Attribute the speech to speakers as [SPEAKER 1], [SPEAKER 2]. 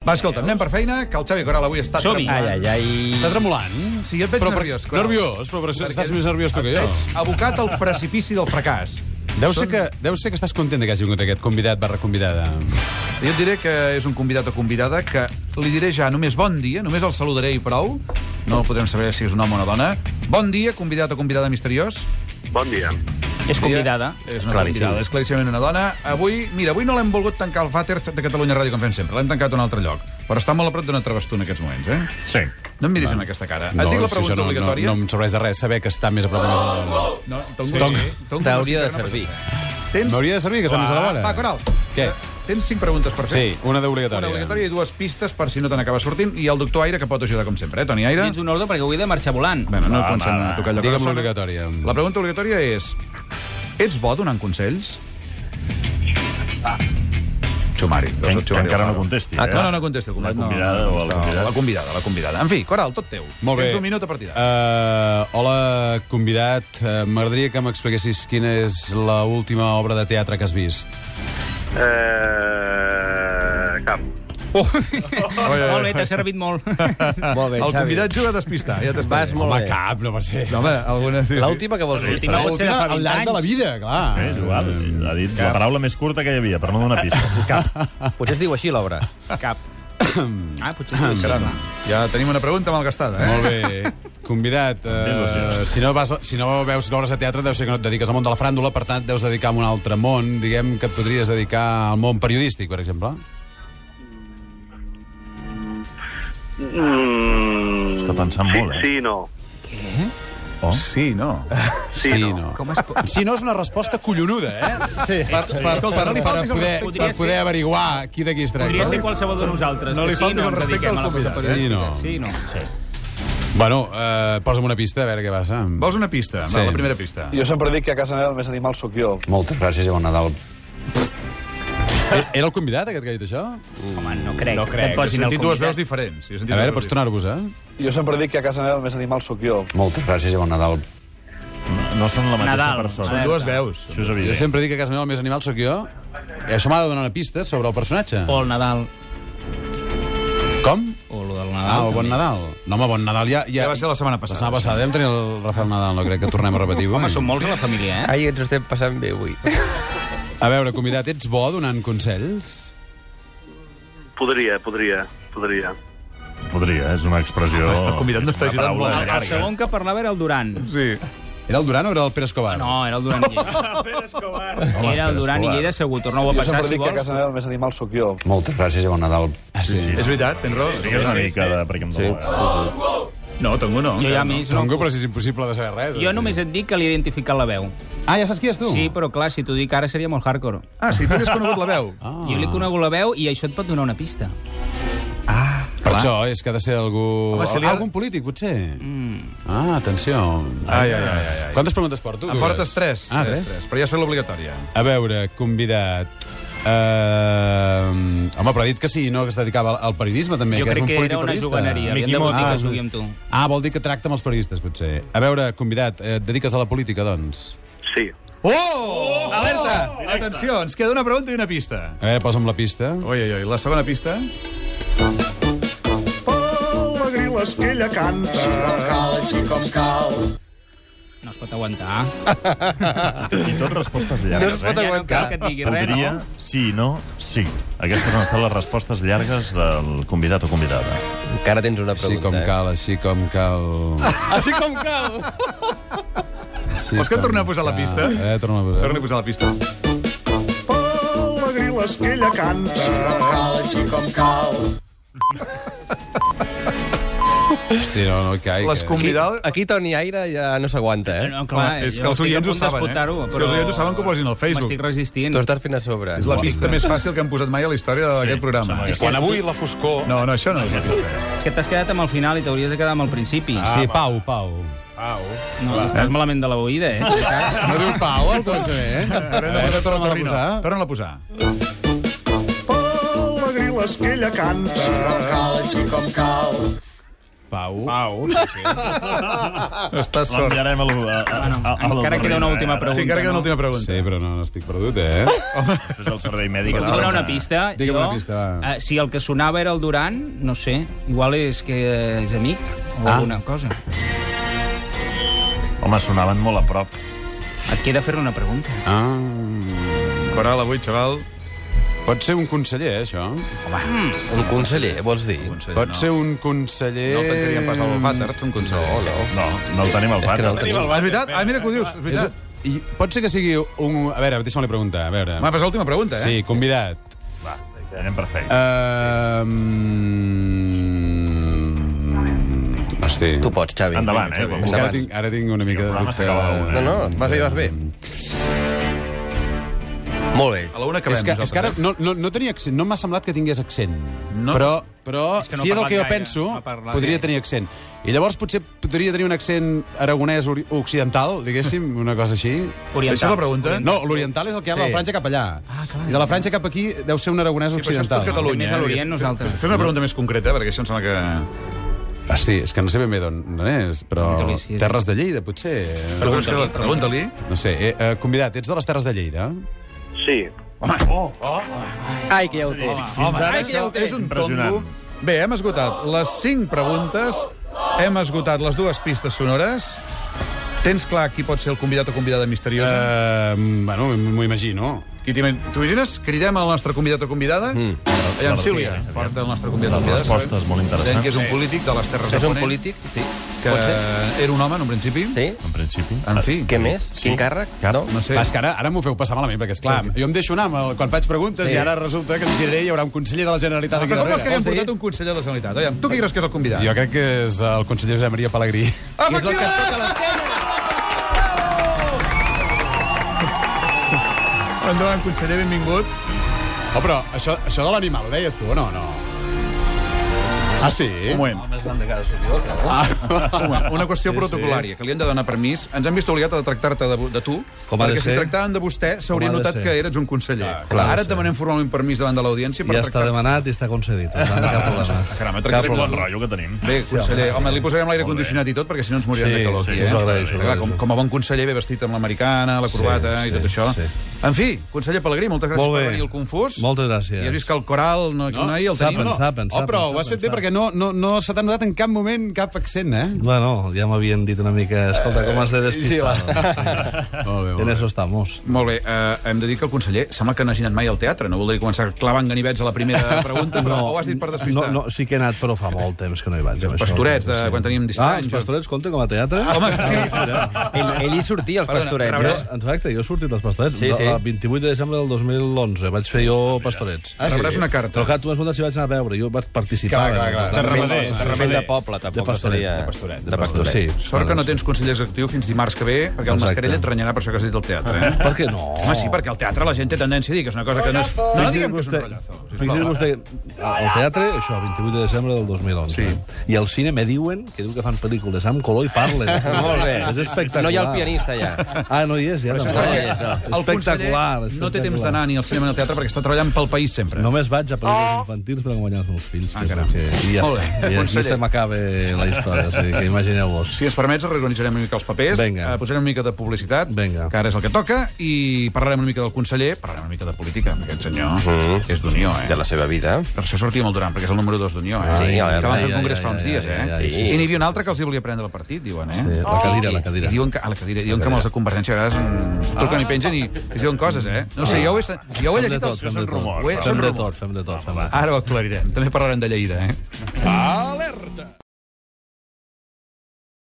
[SPEAKER 1] Va, escolta'm, anem per feina, que el Xavi Coral avui està...
[SPEAKER 2] Som-hi.
[SPEAKER 1] tremolant.
[SPEAKER 3] Ai, ai, ai.
[SPEAKER 2] Està tremolant?
[SPEAKER 1] Sí, et veig
[SPEAKER 4] Però, per-
[SPEAKER 1] nerviós. Coral.
[SPEAKER 4] nerviós, però, però estàs
[SPEAKER 1] Perquè
[SPEAKER 4] més nerviós tu que jo.
[SPEAKER 1] Et veig abocat al precipici del fracàs.
[SPEAKER 4] Deu ser, que, deu ser que estàs content de que hagi vingut aquest convidat barra convidada.
[SPEAKER 1] Jo et diré que és un convidat o convidada que li diré ja només bon dia, només el saludaré i prou. No podrem saber si és un home o una dona. Bon dia, convidat o convidada misteriós.
[SPEAKER 5] Bon dia.
[SPEAKER 3] És convidada.
[SPEAKER 1] És una
[SPEAKER 3] Claríssim.
[SPEAKER 1] convidada, és claríssimament una dona. Avui, mira, avui no l'hem volgut tancar al Vàter de Catalunya Ràdio, com fem sempre. L'hem tancat a un altre lloc. Però està molt a prop d'una travestú en aquests moments, eh?
[SPEAKER 2] Sí.
[SPEAKER 1] No em miris amb aquesta cara. Et dic la
[SPEAKER 4] si això
[SPEAKER 1] pregunta
[SPEAKER 4] no, no,
[SPEAKER 1] obligatòria.
[SPEAKER 4] no em serveix de res saber que està més a prop de la...
[SPEAKER 1] No, tongo.
[SPEAKER 4] Sí.
[SPEAKER 1] Tongo.
[SPEAKER 3] T'hauria de
[SPEAKER 1] No passa
[SPEAKER 3] servir.
[SPEAKER 1] res. Tens...
[SPEAKER 4] M'hauria de servir, que està més a la vora.
[SPEAKER 1] Va, Coral.
[SPEAKER 4] Què?
[SPEAKER 1] Tens cinc preguntes per fer.
[SPEAKER 4] Sí, una
[SPEAKER 1] Una
[SPEAKER 4] d'obligatòria.
[SPEAKER 1] obligatòria i dues pistes per si no te n'acaba sortint. I el doctor Aire, que pot ajudar com sempre, eh, Toni Aire?
[SPEAKER 2] Tens un ordre perquè avui he de marxar volant.
[SPEAKER 1] Bueno, no
[SPEAKER 2] Va,
[SPEAKER 1] comencem
[SPEAKER 2] va,
[SPEAKER 1] a
[SPEAKER 2] va.
[SPEAKER 1] tocar allò que
[SPEAKER 4] Digue'm
[SPEAKER 1] no sona.
[SPEAKER 4] l'obligatòria.
[SPEAKER 1] La pregunta obligatòria és... Ets bo donant consells? Xumari.
[SPEAKER 6] Ah. Que,
[SPEAKER 1] Xumari,
[SPEAKER 6] que encara no
[SPEAKER 1] Alfaro.
[SPEAKER 6] contesti,
[SPEAKER 3] Ah,
[SPEAKER 6] eh?
[SPEAKER 1] No, no, no contesta.
[SPEAKER 6] La
[SPEAKER 1] convidat, no.
[SPEAKER 6] convidada o el
[SPEAKER 1] Està-
[SPEAKER 6] convidat.
[SPEAKER 1] La convidada, la convidada. En fi, Coral, tot teu.
[SPEAKER 4] Molt bé.
[SPEAKER 1] Tens un minut a partir d'ara.
[SPEAKER 4] Uh, hola, convidat. Uh, M'agradaria que m'expliquessis quina és l'última obra de teatre que has vist.
[SPEAKER 5] Eh, cap.
[SPEAKER 2] Molt bé, t'ha servit molt.
[SPEAKER 3] Molt bé,
[SPEAKER 1] El
[SPEAKER 3] Xavi.
[SPEAKER 1] convidat juga a despistar, ja t'està
[SPEAKER 3] Vas
[SPEAKER 1] bé.
[SPEAKER 3] molt
[SPEAKER 4] Home,
[SPEAKER 3] bé.
[SPEAKER 4] cap, no per ser.
[SPEAKER 1] No, home, alguna... Sí, sí.
[SPEAKER 3] L'última que vols fer.
[SPEAKER 2] L'última pot ser de fa 20
[SPEAKER 4] al llarg de la
[SPEAKER 2] anys.
[SPEAKER 4] vida, clar.
[SPEAKER 6] Ah, És igual, ha dit la paraula més curta que hi havia, per no donar pistes. Cap.
[SPEAKER 3] Potser es diu així, l'obra.
[SPEAKER 2] Cap. Ah, potser sí.
[SPEAKER 1] Caram, ja tenim una pregunta malgastada, eh?
[SPEAKER 4] Molt bé. Convidat, eh,
[SPEAKER 6] Il·lusió.
[SPEAKER 4] si, no vas, si no veus obres de teatre deu ser que no et dediques al món de la fràndula, per tant et deus dedicar a un altre món, diguem que et podries dedicar al món periodístic, per exemple.
[SPEAKER 5] Mm,
[SPEAKER 6] Està pensant
[SPEAKER 5] sí,
[SPEAKER 6] molt, eh?
[SPEAKER 5] Sí, no.
[SPEAKER 1] Sí, no.
[SPEAKER 5] Sí, no.
[SPEAKER 4] Com es pot... Si no és una resposta collonuda, eh?
[SPEAKER 3] Sí.
[SPEAKER 4] Per, per, per, per,
[SPEAKER 1] no li
[SPEAKER 4] per,
[SPEAKER 1] faltis el
[SPEAKER 4] poder,
[SPEAKER 1] respecte.
[SPEAKER 4] per poder averiguar qui de qui es
[SPEAKER 2] Podria
[SPEAKER 4] tracta.
[SPEAKER 2] ser qualsevol de nosaltres.
[SPEAKER 1] No
[SPEAKER 2] que
[SPEAKER 1] li
[SPEAKER 2] sí,
[SPEAKER 1] faltis
[SPEAKER 2] no
[SPEAKER 1] el
[SPEAKER 2] ens
[SPEAKER 1] respecte
[SPEAKER 2] dediquem
[SPEAKER 1] al
[SPEAKER 2] a la cosa
[SPEAKER 1] convidat,
[SPEAKER 4] eh?
[SPEAKER 2] periodística. Sí, no. Sí.
[SPEAKER 4] Bueno, eh, posa'm una pista, a veure què passa.
[SPEAKER 1] Vols una pista?
[SPEAKER 4] Sí.
[SPEAKER 1] Va, la primera pista.
[SPEAKER 7] Jo sempre dic que a casa meva el més animal sóc jo.
[SPEAKER 8] Moltes gràcies i bon Nadal.
[SPEAKER 4] Eh, Era el convidat, aquest que ha dit això?
[SPEAKER 2] Home, Mm. no crec.
[SPEAKER 4] No
[SPEAKER 2] que
[SPEAKER 4] crec.
[SPEAKER 2] et
[SPEAKER 1] He
[SPEAKER 2] posin el
[SPEAKER 1] sentit dues
[SPEAKER 2] convidat.
[SPEAKER 1] veus diferents. Jo he sentit
[SPEAKER 4] A veure,
[SPEAKER 1] dues
[SPEAKER 4] pots
[SPEAKER 1] veus
[SPEAKER 4] tornar-vos, eh?
[SPEAKER 7] Jo sempre dic que a casa meva el més animal sóc jo.
[SPEAKER 8] Moltes gràcies i bon Nadal.
[SPEAKER 6] No són la mateixa
[SPEAKER 2] Nadal. Ah.
[SPEAKER 6] persona.
[SPEAKER 2] Nadal.
[SPEAKER 1] diferents. Dues veus.
[SPEAKER 6] Això és
[SPEAKER 4] Jo
[SPEAKER 6] evident.
[SPEAKER 4] sempre dic que a casa meva el més animal sóc jo. Eh, I això m'ha de donar una pista sobre el personatge.
[SPEAKER 2] O el Nadal.
[SPEAKER 4] Com?
[SPEAKER 2] O lo del
[SPEAKER 4] Ah,
[SPEAKER 2] Nadal.
[SPEAKER 4] o Bon Nadal. No, home, Bon Nadal ja...
[SPEAKER 1] Ja va ser la setmana passada.
[SPEAKER 4] La setmana passada vam tenir el Rafael Nadal, no crec que tornem a repetir.
[SPEAKER 2] Home, som molts a la família, eh?
[SPEAKER 3] Ai, ens ho estem passant bé avui.
[SPEAKER 4] A veure, convidat, ets bo donant consells?
[SPEAKER 5] Podria, podria, podria.
[SPEAKER 6] Podria, eh? és una expressió...
[SPEAKER 1] El convidat no està
[SPEAKER 6] una
[SPEAKER 1] ajudant
[SPEAKER 6] paraula
[SPEAKER 1] molt.
[SPEAKER 2] El, el
[SPEAKER 6] llarga.
[SPEAKER 2] segon que parlava era el Duran.
[SPEAKER 1] Sí.
[SPEAKER 4] Era el Duran o era el Pere Escobar?
[SPEAKER 2] No, era el Duran i Lleida.
[SPEAKER 6] Home,
[SPEAKER 2] Era el
[SPEAKER 6] però
[SPEAKER 2] Duran i
[SPEAKER 6] escolta.
[SPEAKER 2] Lleida, segur. Torneu a
[SPEAKER 7] Jo sempre
[SPEAKER 2] passar, si
[SPEAKER 7] dic que a
[SPEAKER 2] vols.
[SPEAKER 7] casa meva el més animal sóc jo.
[SPEAKER 8] Moltes gràcies i bon Nadal.
[SPEAKER 4] Ah, sí. sí,
[SPEAKER 1] És veritat, tens raó.
[SPEAKER 6] Digues una mica de... perquè em dona...
[SPEAKER 1] No, Tongo no.
[SPEAKER 2] Jo ja més no.
[SPEAKER 4] Tongo, però si és impossible de saber res. eh?
[SPEAKER 2] Jo només et dic que li he identificat la veu.
[SPEAKER 4] Ah, ja saps qui és tu?
[SPEAKER 2] Sí, però clar, si t'ho dic ara seria molt hardcore.
[SPEAKER 1] Ah, sí, tu n'has conegut la veu.
[SPEAKER 4] Ah,
[SPEAKER 2] Jo li conego la veu i això et pot donar una pista.
[SPEAKER 4] Per això és que ha de ser algú...
[SPEAKER 1] Home, si li ha-
[SPEAKER 4] Algun polític, potser?
[SPEAKER 2] Mm.
[SPEAKER 4] Ah, atenció.
[SPEAKER 1] Ai, ai, ai, ai. ai.
[SPEAKER 4] Quantes preguntes porto?
[SPEAKER 1] En
[SPEAKER 4] Dues.
[SPEAKER 1] portes tres.
[SPEAKER 4] Ah, tres?
[SPEAKER 1] Però ja has fet l'obligatòria.
[SPEAKER 4] A veure, convidat... Uh, home, però ha dit que sí, no? Que es dedicava al- al periodisme, també.
[SPEAKER 2] Jo
[SPEAKER 4] que
[SPEAKER 2] crec
[SPEAKER 4] és un
[SPEAKER 2] que
[SPEAKER 4] polític
[SPEAKER 2] era una
[SPEAKER 4] periodista.
[SPEAKER 2] juganeria. Havien de
[SPEAKER 4] Miqui
[SPEAKER 2] votar
[SPEAKER 4] Mot.
[SPEAKER 2] que jugui amb tu.
[SPEAKER 4] Ah, vol dir que tracta amb els periodistes, potser. A veure, convidat, eh, et dediques a la política, doncs?
[SPEAKER 5] Sí.
[SPEAKER 1] Oh! oh! Alerta! Atenció, ens queda una pregunta i una pista.
[SPEAKER 4] A veure, posa'm la pista.
[SPEAKER 1] Oi, oi, oi. La segona pista?
[SPEAKER 2] No es pot aguantar.
[SPEAKER 6] I tot respostes
[SPEAKER 3] No es
[SPEAKER 6] llargues, eh?
[SPEAKER 3] pot
[SPEAKER 2] Ja no
[SPEAKER 3] aguantar.
[SPEAKER 2] cal que et digui res,
[SPEAKER 6] Podria,
[SPEAKER 2] no?
[SPEAKER 6] sí, no, sí. Aquestes han estat les respostes llargues del convidat o convidada.
[SPEAKER 3] Encara tens una
[SPEAKER 4] Així
[SPEAKER 3] pregunta. eh?
[SPEAKER 2] eh?
[SPEAKER 4] com cal, així com cal...
[SPEAKER 3] Així com cal.
[SPEAKER 4] Així
[SPEAKER 1] Vols que
[SPEAKER 4] com
[SPEAKER 1] tornem a posar la
[SPEAKER 4] cal.
[SPEAKER 1] pista?
[SPEAKER 4] Eh, torna a posar.
[SPEAKER 1] Torna a posar la pista.
[SPEAKER 4] Hosti, no, no caic.
[SPEAKER 1] Les
[SPEAKER 4] eh.
[SPEAKER 1] convidades...
[SPEAKER 3] Aquí Toni Aire ja no s'aguanta, eh?
[SPEAKER 2] No,
[SPEAKER 1] Home,
[SPEAKER 2] clar,
[SPEAKER 1] és
[SPEAKER 2] jo
[SPEAKER 1] que els
[SPEAKER 2] estic a
[SPEAKER 1] oients ho
[SPEAKER 2] punt
[SPEAKER 1] saben, eh?
[SPEAKER 2] d'esgotar-ho,
[SPEAKER 1] Si
[SPEAKER 2] però
[SPEAKER 1] els oients ho saben, que ho posin al Facebook. Doncs
[SPEAKER 2] M'estic resistint.
[SPEAKER 3] Tu estàs fent a sobre.
[SPEAKER 1] És la pista més fàcil que hem posat mai a la història d'aquest
[SPEAKER 6] Sí,
[SPEAKER 1] programa.
[SPEAKER 6] sembla que
[SPEAKER 1] És que-
[SPEAKER 6] Quan
[SPEAKER 4] avui la foscor...
[SPEAKER 1] No, no, això no és la pista. eh?
[SPEAKER 2] És que t'has quedat amb el final i t'hauries de quedar amb el principi.
[SPEAKER 1] Ah,
[SPEAKER 4] Ah, Sí, Pau, Pau.
[SPEAKER 2] No, estàs malament de la oïda, eh?
[SPEAKER 4] No diu Pau, al començament. A veure, torna'm a
[SPEAKER 1] Torna-la
[SPEAKER 4] posar.
[SPEAKER 1] Torna-la a posar.
[SPEAKER 4] Pau.
[SPEAKER 2] Pau.
[SPEAKER 1] Estàs sort.
[SPEAKER 6] L'enviarem a l'u- a- a-
[SPEAKER 2] Bueno,
[SPEAKER 6] a- eh? a l'u-
[SPEAKER 2] encara queda una última
[SPEAKER 1] Sí,
[SPEAKER 6] Ara,
[SPEAKER 2] pregunta.
[SPEAKER 1] encara queda una
[SPEAKER 2] no?
[SPEAKER 1] última pregunta.
[SPEAKER 4] Sí, però no, no estic perdut, eh?
[SPEAKER 6] Després del servei mèdic...
[SPEAKER 2] Us
[SPEAKER 6] ara
[SPEAKER 2] donaré una
[SPEAKER 6] ja-
[SPEAKER 2] pista.
[SPEAKER 4] Digue'm
[SPEAKER 2] jo.
[SPEAKER 4] una pista, va.
[SPEAKER 2] Eh, si el que sonava era el Duran, no sé, igual és que és amic o
[SPEAKER 4] Ah.
[SPEAKER 2] alguna cosa.
[SPEAKER 6] Home, sonaven molt a prop.
[SPEAKER 2] Et queda fer una pregunta.
[SPEAKER 4] Ah.
[SPEAKER 1] Coral, avui, xaval.
[SPEAKER 4] Pot ser un conseller, eh, això?
[SPEAKER 3] Un conseller, vols dir?
[SPEAKER 1] Conseller,
[SPEAKER 4] Pot
[SPEAKER 1] no.
[SPEAKER 4] ser un conseller...
[SPEAKER 1] No t'entraríem pas al vàter, tu, un conseller.
[SPEAKER 3] No, no.
[SPEAKER 6] No, no el tenim al
[SPEAKER 3] que
[SPEAKER 6] pàter.
[SPEAKER 3] no el tenim.
[SPEAKER 1] És veritat? Ah, mira que ho dius, és
[SPEAKER 4] mm, És,
[SPEAKER 1] veritat.
[SPEAKER 4] i pot ser que sigui un... A veure, deixa'm-li preguntar, a veure.
[SPEAKER 1] Va, però és l'última pregunta, eh?
[SPEAKER 4] Sí, convidat. Ehm,
[SPEAKER 6] Va, anem perfecte.
[SPEAKER 4] Um... Hosti.
[SPEAKER 3] Tu pots, Xavi.
[SPEAKER 6] Endavant, eh?
[SPEAKER 4] És que
[SPEAKER 3] Endavant.
[SPEAKER 4] ara tinc, ara tinc una mica
[SPEAKER 6] el
[SPEAKER 4] de
[SPEAKER 6] programa
[SPEAKER 4] dubte.
[SPEAKER 6] s'acaba a
[SPEAKER 1] eh?
[SPEAKER 6] la una.
[SPEAKER 3] No, no, vas bé, vas bé. Molt bé.
[SPEAKER 1] A la una acabem
[SPEAKER 4] És que, és que ara
[SPEAKER 1] nosaltres.
[SPEAKER 4] no, no, no, tenia accent, no m'ha semblat que tingués accent.
[SPEAKER 1] No.
[SPEAKER 4] Però, però
[SPEAKER 2] que no ha
[SPEAKER 4] si és el
[SPEAKER 2] parlat
[SPEAKER 4] que jo
[SPEAKER 2] gaire,
[SPEAKER 4] penso,
[SPEAKER 2] no ha parlat
[SPEAKER 4] podria
[SPEAKER 2] gaire.
[SPEAKER 4] tenir accent. I llavors potser podria tenir un accent aragonès ori- occidental, diguéssim, una cosa així.
[SPEAKER 2] Oriental.
[SPEAKER 1] Això és la pregunta?
[SPEAKER 4] No, l'oriental és el que hi ha de la
[SPEAKER 3] Sí.
[SPEAKER 4] Franja cap allà. Ah, clar, I de la Franja cap aquí deu ser un aragonès
[SPEAKER 1] Sí, però això és
[SPEAKER 4] occidental.
[SPEAKER 1] tot Catalunya.
[SPEAKER 2] Més a
[SPEAKER 1] eh?
[SPEAKER 2] l'Orient, nosaltres.
[SPEAKER 1] Fes una pregunta més concreta, perquè això em sembla que...
[SPEAKER 4] Hosti, és que no sé ben bé d'on d'on és, però...
[SPEAKER 2] Pregunta-li, sí.
[SPEAKER 4] Terres de Lleida, potser.
[SPEAKER 1] Pregunta-li. Pregunta-li.
[SPEAKER 4] No sé, eh, eh, convidat, ets de les Terres de Lleida?
[SPEAKER 5] Sí.
[SPEAKER 6] Oh,
[SPEAKER 3] Ai, que ja ho té.
[SPEAKER 6] Fins ara,
[SPEAKER 1] Ai, que ja ho té. És un tombo.
[SPEAKER 6] Impressionant.
[SPEAKER 1] Bé, hem esgotat les 5 preguntes, hem esgotat les dues pistes sonores. Tens clar qui pot ser el convidat o convidada misteriosa?
[SPEAKER 4] Eh, bueno, m'ho imagino.
[SPEAKER 1] Uh, qui t'ima- T'ho imagines? Cridem el nostre convidat o convidada? Mm. Allà, en Sílvia,
[SPEAKER 6] Martí, eh?
[SPEAKER 1] porta el nostre convidat o
[SPEAKER 6] Les
[SPEAKER 1] convidada.
[SPEAKER 6] respostes molt interessants.
[SPEAKER 1] Sabem que és un polític de les Terres de
[SPEAKER 3] És un
[SPEAKER 1] Ponent,
[SPEAKER 3] polític? Sí.
[SPEAKER 1] que
[SPEAKER 3] Pot ser?
[SPEAKER 1] era un home, en un principi.
[SPEAKER 3] Sí?
[SPEAKER 6] En principi.
[SPEAKER 1] En fi.
[SPEAKER 3] Què més?
[SPEAKER 6] Sí.
[SPEAKER 3] Quin càrrec?
[SPEAKER 6] Cap.
[SPEAKER 3] No?
[SPEAKER 1] No
[SPEAKER 4] Sí.
[SPEAKER 1] sé.
[SPEAKER 4] És que ara, ara m'ho feu passar malament, perquè, és clar, jo em deixo anar amb el, quan faig preguntes
[SPEAKER 3] Sí.
[SPEAKER 4] sí. i ara resulta que em giraré i hi haurà un conseller de la Generalitat aquí
[SPEAKER 1] Però com vols que
[SPEAKER 4] darrere.
[SPEAKER 1] haguem portat un conseller de la Generalitat? Aviam, tu qui creus que és el convidat?
[SPEAKER 4] Jo crec que és el conseller Josep Maria Pellegrí.
[SPEAKER 1] Efectivament! Endavant, conseller, benvingut.
[SPEAKER 4] Oh, però això, això de l'animal ho deies tu, o no? no? Ah, sí?
[SPEAKER 1] Un moment.
[SPEAKER 4] Ah.
[SPEAKER 1] Un moment. Una qüestió sí, protocolària, que li hem de donar permís. Ens han vist obligat a tractar-te de, vo- de tu,
[SPEAKER 9] Com ha de
[SPEAKER 1] perquè si
[SPEAKER 9] ser.
[SPEAKER 1] tractaven de vostè s'hauria
[SPEAKER 9] Com ha de
[SPEAKER 1] notat
[SPEAKER 9] ser.
[SPEAKER 1] que eres un conseller. Ah,
[SPEAKER 4] clar,
[SPEAKER 1] Ara et demanem formalment permís davant de l'audiència per
[SPEAKER 9] Ja està
[SPEAKER 1] tractar...
[SPEAKER 9] demanat i està concedit. Per tant, cap problema.
[SPEAKER 1] Caram,
[SPEAKER 6] Cap
[SPEAKER 1] tractarem
[SPEAKER 6] bon
[SPEAKER 1] la-
[SPEAKER 6] rotllo que tenim.
[SPEAKER 1] Bé, conseller, home, li posarem l'aire
[SPEAKER 6] Molt bé.
[SPEAKER 1] condicionat i tot, perquè si no ens morirem
[SPEAKER 9] Sí,
[SPEAKER 1] de calor
[SPEAKER 9] sí,
[SPEAKER 1] aquí,
[SPEAKER 9] us
[SPEAKER 1] eh?
[SPEAKER 9] ho
[SPEAKER 1] Clar,
[SPEAKER 9] agraeixo, us ho
[SPEAKER 1] com,
[SPEAKER 9] agraeixo.
[SPEAKER 1] com a bon conseller, ve vestit amb l'americana, la corbata
[SPEAKER 9] sí,
[SPEAKER 1] i tot això.
[SPEAKER 9] sí.
[SPEAKER 1] En fi, conseller Pellegrí, moltes gràcies
[SPEAKER 9] Molt
[SPEAKER 1] per
[SPEAKER 9] bé.
[SPEAKER 1] venir al Confús.
[SPEAKER 9] Moltes gràcies.
[SPEAKER 1] I has vist que el coral no, no? ahir el
[SPEAKER 9] S'ha
[SPEAKER 1] tenim.
[SPEAKER 9] pensat, pensat.
[SPEAKER 4] oh, però
[SPEAKER 9] pensat,
[SPEAKER 4] ho has fet bé
[SPEAKER 9] pensat.
[SPEAKER 4] perquè no, no, no se t'ha notat en cap moment cap accent, eh?
[SPEAKER 9] Bueno, ja m'havien dit una mica, escolta, com has de
[SPEAKER 7] Eh,
[SPEAKER 9] despistar.
[SPEAKER 4] sí, Molt bé,
[SPEAKER 9] En eso estamos.
[SPEAKER 1] Molt bé, eh, hem de dir que el conseller sembla que no hagi anat mai al teatre. No voldria començar clavant ganivets a la primera pregunta, Ah, però ho has dit per despistar.
[SPEAKER 9] No, no, sí que he anat, però fa molt temps que no hi vaig. amb
[SPEAKER 1] Els
[SPEAKER 9] això.
[SPEAKER 1] pastorets de
[SPEAKER 9] Sí.
[SPEAKER 1] quan teníem 17
[SPEAKER 9] Ah,
[SPEAKER 1] anys,
[SPEAKER 9] els
[SPEAKER 1] jo.
[SPEAKER 9] pastorets compten com a teatre? Ah,
[SPEAKER 1] Home, sí.
[SPEAKER 3] Ell, ell hi sortia, els
[SPEAKER 1] Perdona, rebràs-
[SPEAKER 3] pastorets.
[SPEAKER 9] Jo, exacte, jo he sortit als pastorets.
[SPEAKER 3] Sí, sí.
[SPEAKER 9] El 28 de desembre del 2011 vaig fer jo pastorets.
[SPEAKER 3] Ah, sí?
[SPEAKER 1] Rebràs una carta.
[SPEAKER 9] Però clar, tu m'has preguntat si vaig anar a veure. Jo vaig participar.
[SPEAKER 3] Clar, clar, clar.
[SPEAKER 9] Per tant,
[SPEAKER 3] De
[SPEAKER 4] ramader,
[SPEAKER 3] fet-
[SPEAKER 4] de
[SPEAKER 3] de fet
[SPEAKER 4] ramader.
[SPEAKER 3] de poble, tampoc.
[SPEAKER 9] De pastoret,
[SPEAKER 3] seria-
[SPEAKER 9] de pastoret,
[SPEAKER 3] De pastoret.
[SPEAKER 9] Sí.
[SPEAKER 1] Sort que no tens conseller executiu fins dimarts que ve, perquè el
[SPEAKER 9] Exacte. Oh.
[SPEAKER 1] Mascarell et renyarà per això que has dit el teatre. Eh?
[SPEAKER 9] Per què no?
[SPEAKER 1] Home, sí, perquè al teatre la gent té tendència a dir que és una cosa que no és... No, no diguem que és un rollazo.
[SPEAKER 9] Fixi's vostè, al teatre, això, 28 de desembre del 2011.
[SPEAKER 1] Sí.
[SPEAKER 9] I al cine me diuen que diu que fan pel·lícules amb color i parlen.
[SPEAKER 3] Molt bé.
[SPEAKER 9] És espectacular.
[SPEAKER 3] No hi ha el pianista, ja.
[SPEAKER 9] Ah, no hi és, ja.
[SPEAKER 1] Això és
[SPEAKER 9] tampoc.
[SPEAKER 1] perquè el conseller
[SPEAKER 9] espectacular,
[SPEAKER 1] no té
[SPEAKER 9] espectacular.
[SPEAKER 1] temps d'anar ni al cinema ni al teatre perquè està treballant pel país sempre.
[SPEAKER 9] Només vaig a pel·lícules infantils per guanyar els meus fills.
[SPEAKER 1] Eh. Ah,
[SPEAKER 9] que és
[SPEAKER 1] caram.
[SPEAKER 9] el que... I ja
[SPEAKER 1] Molt
[SPEAKER 9] està.
[SPEAKER 1] bé,
[SPEAKER 9] I
[SPEAKER 1] conseller.
[SPEAKER 9] aquí se m'acaba la història, o sigui, que imagineu-vos.
[SPEAKER 1] Si ens permets, reorganitzarem una mica els papers,
[SPEAKER 9] Vinga.
[SPEAKER 1] eh, posarem una mica de publicitat,
[SPEAKER 9] Vinga.
[SPEAKER 1] que ara és el que toca, i parlarem una mica del conseller, parlarem una mica de política, amb aquest senyor,
[SPEAKER 9] Mhm.
[SPEAKER 1] mm. que és d'Unió, eh?
[SPEAKER 3] De la seva vida.
[SPEAKER 1] Per això sortia molt Durant, perquè és el número 2 d'Unió, eh?
[SPEAKER 3] Sí,
[SPEAKER 1] que
[SPEAKER 3] ja, ja,
[SPEAKER 1] van fer el
[SPEAKER 9] ja,
[SPEAKER 1] congrés
[SPEAKER 9] ja,
[SPEAKER 1] fa uns
[SPEAKER 9] ja,
[SPEAKER 1] dies,
[SPEAKER 9] ja,
[SPEAKER 1] eh?
[SPEAKER 9] ja, ja,
[SPEAKER 3] sí,
[SPEAKER 1] I
[SPEAKER 3] sí,
[SPEAKER 1] n'hi havia un altre que els hi volia prendre el partit, diuen, eh?
[SPEAKER 9] Sí, la cadira, la
[SPEAKER 1] I
[SPEAKER 9] cadira.
[SPEAKER 1] diuen que, a la cadira, diuen que amb els acompanyants a vegades mm, truquen i pengen i, i diuen coses, eh? No sé, jo ho he, sen- jo ho he
[SPEAKER 9] Fem de
[SPEAKER 1] llegit...
[SPEAKER 9] tot,
[SPEAKER 1] als-
[SPEAKER 9] fem de
[SPEAKER 1] Ho
[SPEAKER 9] tot.
[SPEAKER 1] he-
[SPEAKER 9] Fem
[SPEAKER 1] són
[SPEAKER 9] de
[SPEAKER 1] rumors.
[SPEAKER 9] tot, fem de tot. fem de tot.
[SPEAKER 1] Ara ho aclarirem. També parlarem de Lleida, eh?
[SPEAKER 4] Val.